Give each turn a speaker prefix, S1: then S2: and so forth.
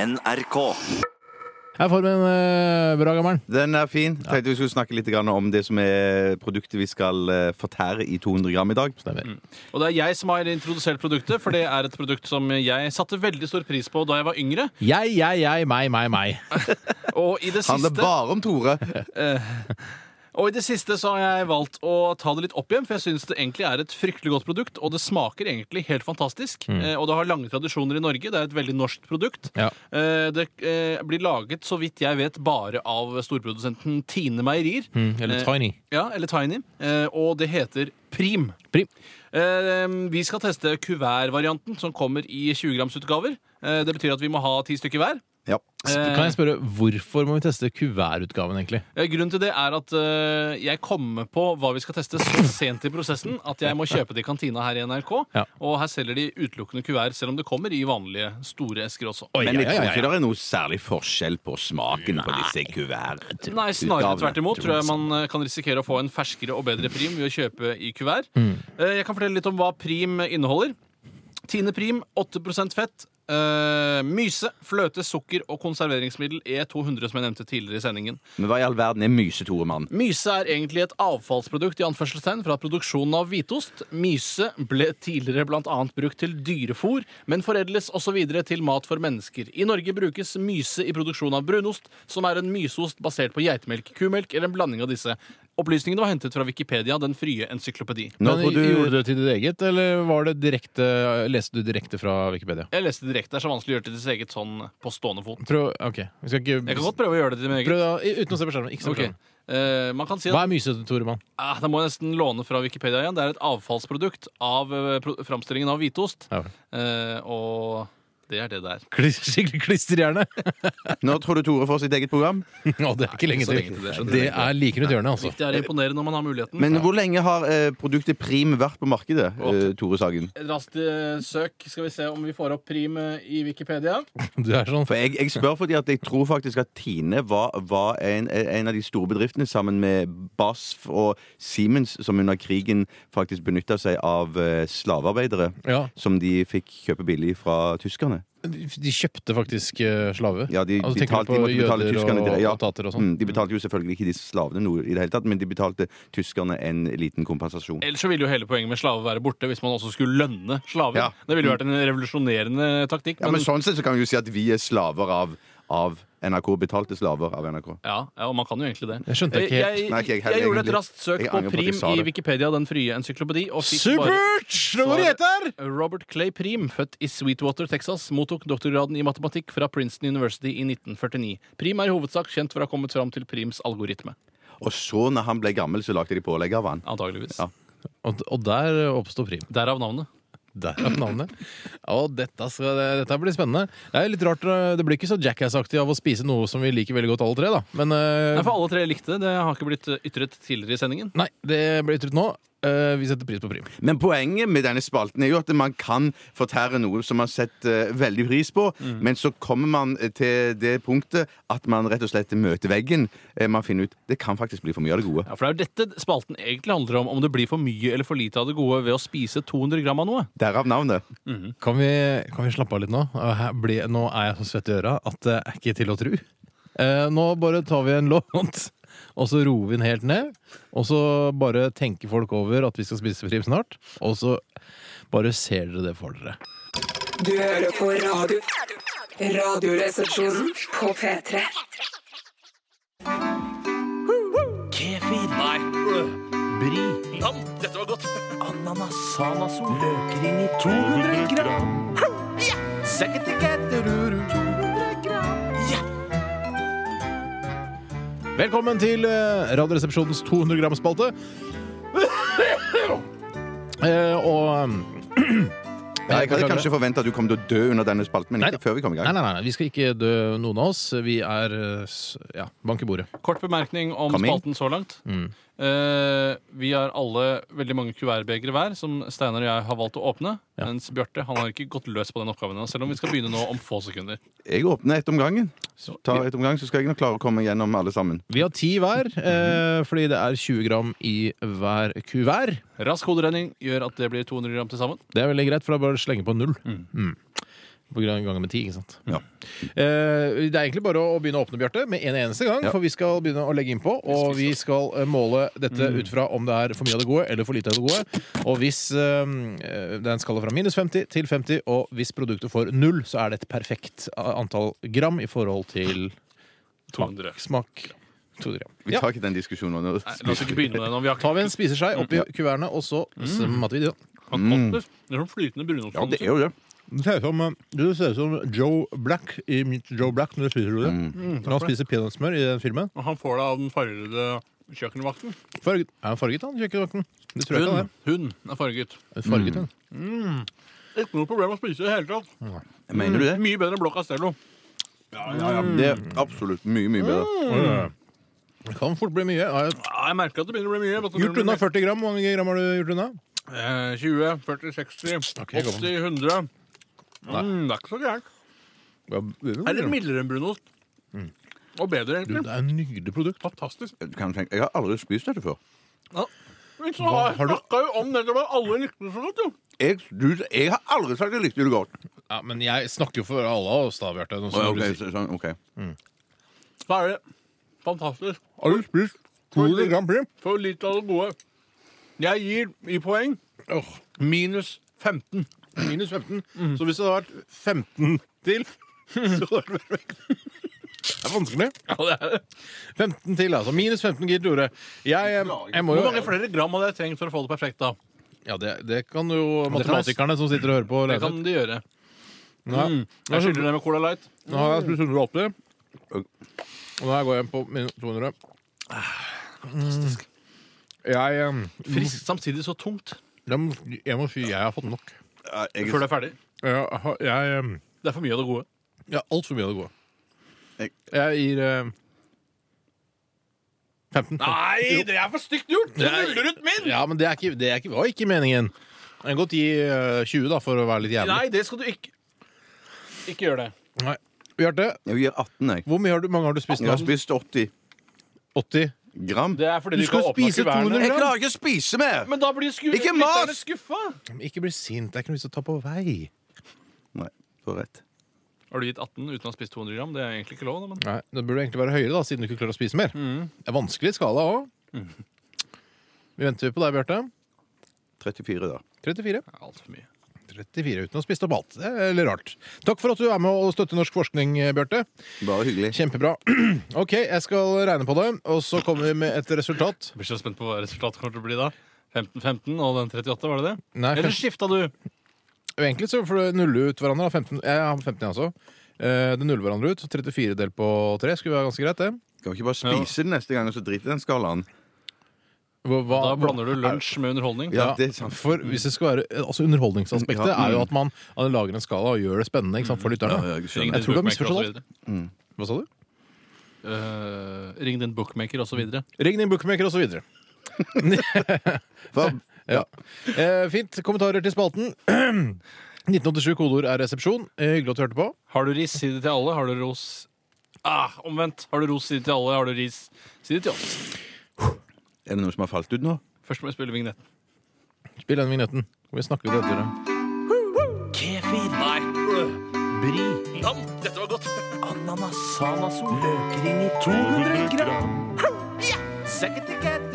S1: NRK.
S2: Jeg er formen eh, bra, gammelen.
S3: Den er fin. Tenkte vi skulle snakke litt grann om det som er produktet vi skal eh, fortære i 200 gram i dag.
S2: Stemmer.
S4: Og det er jeg som har introdusert produktet, for det er et produkt som jeg satte veldig stor pris på da jeg var yngre.
S2: Jeg, jeg, jeg, meg, meg, meg.
S4: Og i det
S3: Handler
S4: siste,
S3: bare om Tore.
S4: og i det siste så har jeg valgt å ta det litt opp igjen, for jeg syns det egentlig er et fryktelig godt produkt, og det smaker egentlig helt fantastisk. Eh, og det har lange tradisjoner i Norge. Det er et veldig norsk produkt.
S2: Ja.
S4: Eh, det eh, blir laget, så vidt jeg vet, bare av storprodusenten Tine Meierier.
S2: Mm, Eller
S4: Eh,
S2: Tiny.
S4: Ja, eller Tiny. Eh, og det heter Prim.
S2: Prim.
S4: Eh, vi skal teste kuvertvarianten, som kommer i 20-gramsutgaver. Eh, det betyr at vi må ha ti stykker hver.
S3: Ja.
S4: Eh,
S2: Kan jeg spørre, hvorfor må vi teste kuvertutgaven, egentlig?
S4: eh, Grunnen til det er at eh, jeg kommer på hva vi skal teste så sent i prosessen at jeg må kjøpe det i kantina her i NRK.
S2: Ja.
S4: Og her selger de utelukkende kuvert, selv om det kommer i vanlige store esker også.
S3: Men
S2: ja,
S3: jeg
S2: ja,
S3: tror
S2: ja,
S3: ikke det er noe særlig forskjell på smaken på disse kuvertene.
S4: Nei, snarere
S3: Utgavene.
S4: tvert imot. Tror jeg man eh, kan risikere å få en ferskere og bedre prim ved å kjøpe i kuvert. Eh, Jeg kan fortelle litt om hva prim inneholder. Tine prim 8 fett. eh, myse, fløte, sukker og konserveringsmiddel E200, som jeg nevnte tidligere i sendingen.
S3: Men hva i all verden er myse, Tore, mann?
S4: Myse er egentlig et avfallsprodukt i anførselstegn fra produksjonen av hvitost. Myse ble tidligere bl.a. brukt til dyrefôr, men foredles osv. til mat for mennesker. I Norge brukes myse i produksjon av brunost, som er en myseost basert på geitemelk, kumelk eller en blanding av disse. Opplysningene var hentet fra Wikipedia, den frie encyklopedi.
S3: Nå
S2: Men
S3: får
S2: Gjorde du
S3: du...
S2: det til ditt eget, eller var det direkte, leste du direkte fra Wikipedia?
S4: Jeg leste direkte, det er så vanskelig å gjøre det til sitt eget sånn på stående fot.
S2: Prøv, ok, vi skal ikke...
S4: Jeg kan godt prøve å gjøre det til min egen.
S2: Prøv da, i- uten å se på skjermen. Ikke se på
S4: Ok.
S2: skjermen.
S4: Eh, man kan si at
S2: Hva er myse, Toremann?
S4: Ah, da må jeg nesten låne fra Wikipedia igjen. Det er et avfallsprodukt av eh, pro- framstillingen av hvitost.
S2: Ja.
S4: Eh, og det er det det er.
S2: Skikkelig klisterhjerne.
S3: Nå tror du Tore får sitt eget program.
S2: Nå, det er ikke lenge
S4: så
S2: til.
S4: lenge til det, skjønner
S2: Det er like rundt hjørnet, altså.
S4: Viktig er å imponere når man har muligheten.
S3: Men hvor lenge har eh, produktet Prim vært på markedet, eh, Tore Sagen?
S4: Et raskt eh, søk skal vi se om vi får opp prim eh, i Wikipedia.
S2: Du er sånn...
S3: For jeg, jeg spør fordi at jeg tror faktisk at Tine var, var en, en av de store bedriftene sammen med BASF og Siemens som under krigen faktisk benytta seg av eh, slavearbeidere.
S2: Ja,
S3: Som de fikk kjøpe billig fra tyskerne.
S2: de kjøpte faktisk eh, slave.
S3: Ja, de,
S2: Altså,
S3: de,
S2: tenker
S3: betalte,
S2: du
S3: de
S2: på
S3: måtte betale
S2: jøder
S3: tyskerne
S2: og,
S3: dere- ja.
S2: og tater og sånn?
S3: Mm, de betalte jo selvfølgelig ikke disse slavene noe i det hele tatt, men de betalte tyskerne en liten kompensasjon.
S4: Ellers så ville jo hele poenget med slave være borte hvis man også skulle lønne slaver.
S3: Ja.
S4: Det ville jo vært en revolusjonerende taktikk.
S3: Ja, men sånn sett så kan vi jo si at vi er slaver av, av NRK. Betalte slaver av NRK.
S4: ja, ja, og man kan jo egentlig det.
S2: Jeg skjønte ikke
S4: Eh,
S2: helt.
S4: Jeg,
S3: Nei, ikke jeg
S4: jeg,
S3: heller,
S4: gjorde et
S3: egentlig.
S4: raskt søk
S3: Jeg
S4: på
S3: angrer på at jeg
S4: prim
S3: sa
S4: i
S3: det.
S4: Wikipedia, den frie encyklopedi, og fikk bare
S2: Supert! Slå
S4: Svaret-
S2: gjeter!
S4: Robert Clay Prim, født i Sweetwater, Texas, mottok doktorgraden i matematikk fra Princeton University i 1949. Prim er i hovedsak kjent for å ha kommet fram til prims algoritme.
S3: Og så, når han ble gammel, så lagde de pålegg av han.
S4: Antageligvis.
S3: Ja.
S2: Og, og der oppstår prim.
S4: Derav navnet.
S2: Derav navnet. Og dette, skal, dette blir spennende. Det er litt rart, eh, det blir ikke så Jackass-aktig av å spise noe som vi liker veldig godt alle tre, da. Men eh,
S4: Nei, for alle tre likte det. Det har ikke blitt eh, ytret tidligere i sendingen.
S2: nei, det blir ytret nå. Eh, vi setter pris på prim.
S3: Men poenget med denne spalten er jo at man kan fortære noe som man setter eh, veldig pris på, men så kommer man eh, til det punktet at man rett og slett møter veggen. Eh, Man finner ut det kan faktisk bli for mye av det gode.
S4: Ja, For det er jo dette spalten egentlig handler om. Om det blir for mye eller for lite av det gode ved å spise 200 gram av noe.
S3: Derav navnet.
S2: Kan vi, kan vi slappe av litt nå? Eh, her blir- nå er jeg så svett i øra at det er ikke til å tru. Eh, nå bare tar vi en låt, og så roer vi den helt ned. Og så bare tenker folk over at vi skal spise prim snart. Og så bare ser dere det for dere.
S5: Du hører på radio. Radioresepsjonen på P3.
S4: Kefir. Nei. Bri. Nam. Dette var godt. Ananas. Sanasol. Løkring i 200 gram.
S2: Velkommen til eh, Radioresepsjonens 200 gram-spalte. Eh, og
S3: Ja, jeg hadde kanskje forventa at du kom til å dø under denne spalten, men
S2: Neida.
S3: ikke før vi kom i
S2: Nei,
S3: gang.
S2: nei, nei, vi skal ikke dø, noen av oss. Vi er eh, s- ja, bank i bordet.
S4: Kort bemerkning om
S3: Kom inn.
S4: spalten så langt.
S3: Mm.
S4: Eh, vi har alle veldig mange kuvertbegre hver, som Steinar og jeg har valgt å åpne. Mens Bjarte han har ikke gått løs på den oppgaven, ennå, selv om vi skal begynne nå om få sekunder.
S3: Jeg åpner ett om gangen. Så tar jeg ett om gangen, så skal jeg nok klare å komme gjennom alle sammen.
S2: Vi har ti hver, eh, fordi det er 20 gram i hver kuvert.
S4: Rask hoderegning gjør at det blir 200 gram til sammen.
S2: Det er veldig greit, for da bare slenge på null. Mm. På grunn av ganger med ti, ikke sant?
S3: Ja.
S2: Eh, det er egentlig bare å begynne å åpne, Bjarte, med en eneste gang.
S3: Ja.
S2: For vi skal begynne å legge innpå, og vi skal eh, måle dette ut fra om det er for mye av det gode eller for lite av det gode. Og hvis eh, det er en skala fra minus 50 til 50, og hvis produktet får null, så er det et perfekt a- antall gram i forhold til
S4: 200.
S2: smak. 200 gram.
S3: Vi
S2: Ja.
S3: tar ikke den diskusjonen nå.
S4: Nei, la oss ikke begynne med det nå. Vi har
S2: Tar vi
S4: ikke
S2: en spiseskei oppi kuvertene, og så smatter vi det.
S4: mm. Det er sånn flytende brunost.
S3: Ja, det er jo det.
S2: Du ser ut som, eh, du ser ut som Joe Black i mitt Joe Black når du spiser det. når han spiser peanøttsmør i den filmen.
S4: Og han får det av den fargede kjøkkenvakten.
S2: Farget. Er han farget, han kjøkkenvakten? Det tror jeg ikke
S4: Hun,
S2: han er.
S4: hun er farget.
S2: Farget, hun.
S4: Ikke noe problem å spise i det hele tatt.
S2: Mm.
S3: Mener du det?
S4: Mye bedre enn Blå Castello.
S3: Det er absolutt mye, mye bedre.
S2: Det kan fort bli mye. Jeg har
S4: Ja, jeg merker at det begynner å bli mye. vet du.
S2: gjort unna 40 gram. Hvor mange gram har du gjort unna?
S4: Eh, 20, 40, 60,
S2: Ok, jeg går på
S4: 80, 100. Mm, det er ikke så gærent. Det er litt
S2: Det Mm.
S4: mildere enn brunost. Og bedre, egentlig.
S2: er en nydelig produkt.
S4: Fantastisk.
S3: Du kan tenke, jeg har aldri spist dette før.
S4: Men så
S2: Hva
S4: har,
S2: har du-
S4: jeg snakka jo om det, det var alle likte det så godt, jo.
S3: Jeg, du, jeg har aldri sagt jeg likte det godt.
S2: Ja, men jeg snakker jo for alle av oss, da, Bjarte. nå
S3: Å, ja,
S2: som
S3: ok,
S2: du sier.
S3: så- sånn, ok.
S4: Så er det fantastisk.
S2: Har du spist 200 gram prim?
S4: For lite av det gode. Jeg gir i poeng
S2: Åh,
S4: minus Mm. 15.
S2: minus 15. Så hvis det hadde vært 15 til, så hadde det vært perfekt. Det er vanskelig.
S4: Ja, det er det.
S2: 15 til, altså. Minus 15, Gid Tore. Jeg, jeg, jeg må
S4: Hvor
S2: jo
S4: mange flere gram hadde jeg trengt for å få det perfekt, da?
S2: Ja, det, det kan jo matematikerne som sitter og hører på, lese
S4: Det kan
S2: ut.
S4: de gjøre.
S2: Nå
S4: Mm. Jeg skylder dem med Cola Light.
S2: nå har jeg spist 180, og nå går jeg på minus 200. Mm. Jeg, eh,
S4: Friskt, samtidig så tungt.
S2: jeg, må, jeg må si jeg har fått nok.
S3: Ja, Jeg,
S4: Før det er ferdig.
S2: Jeg, har- jeg, eh,
S4: Det er for mye av det gode.
S2: jeg har altfor mye av det gode.
S3: Jeg-
S2: Jeg gir eh, 15.
S4: Nei, det er for stygt gjort! Du
S2: er-
S4: nuller ut min!
S2: Ja, men det, er ikke, det er ikke, var ikke meningen. Jeg kan godt gi eh, 20, da, for å være litt jævlig.
S4: Nei, det skal du ikke Ikke gjør det.
S2: Nei. Bjarte,
S3: jeg gir 18, jeg.
S2: hvor mye har du, mange har du spist
S3: Jeg
S2: nå?
S3: har spist 80
S2: 80?
S3: gram.
S4: Det er fordi
S2: Du
S4: du,
S2: skal
S4: ikke har åpnet
S2: spise 200
S4: kuvertene.
S3: Jeg klarer ikke å spise mer!
S4: Men da blir sku...
S3: Ikke
S4: lytterne
S3: mas!
S4: skuffa!
S2: Ikke bli sint. Det er ikke noe vits å ta på vei.
S3: Nei, du har rett.
S4: Har du gitt 18 uten å ha spist 200 gram? Det er egentlig ikke lov. da, Men...
S2: Nei, Det burde egentlig være høyere, da, siden du ikke klarer å spise mer.
S4: Mm.
S2: Det er vanskelig skala òg. Vi venter på deg, Bjarte.
S3: 34, da.
S2: 34.
S4: Det er alt for mye.
S2: 34 uten å ha spist opp alt. Det er litt rart. Takk for at du er med og støtter norsk forskning, Bjarte.
S3: Bare hyggelig.
S2: Kjempebra. OK, jeg skal regne på det, og så kommer vi med et resultat.
S4: Jeg blir så spent på hva resultatet kommer til å bli da. 15-15 og den 38, var det det?
S2: Nei,
S4: Eller
S2: fem,
S4: skifta du?
S2: egentlig så får det nulle ut hverandre. da. 15, jeg har 15, jeg også. Eh, Det nuller hverandre ut. så 34 delt på 3 skulle være ganske greit, det.
S3: Kan vi ikke bare spise det neste gang og så drite i den skalaen?
S2: Hva- hva-
S4: Da blander du lunsj med underholdning.
S3: Ja, det er sant.
S2: For hvis det skal være, altså Underholdningsaspektet
S3: Ja, mm.
S2: er jo at man at man lager en skala og gjør det spennende ikke sant, for lytterne.
S3: Ja, jeg
S2: Jeg
S3: skjønner.
S4: Ring din
S2: tror du har
S4: bookmaker og så
S2: misforstått.
S4: videre.
S2: Hva sa du?
S4: Eh, ring din bookmaker og så videre.
S2: Ring din bookmaker, osv.
S3: Hva?
S2: Ja. Eh, fint. Kommentarer til spalten. 1987 kodeord er resepsjon. Eh, hyggelig at du hørte på.
S4: Har du ris, si det til alle. Har du ros Ah, omvendt. Har du ros, si det til alle. Har du ris, si det til oss.
S3: Er det noe som har falt ut nå?
S4: Først må jeg spille vignetten.
S2: Spill den vignetten. Hvor vi snakker litt etter
S1: Kefir. Bri. Dam. Dette var godt. Ananas. Sanasol. Løkring i 200 gram. 70 gram.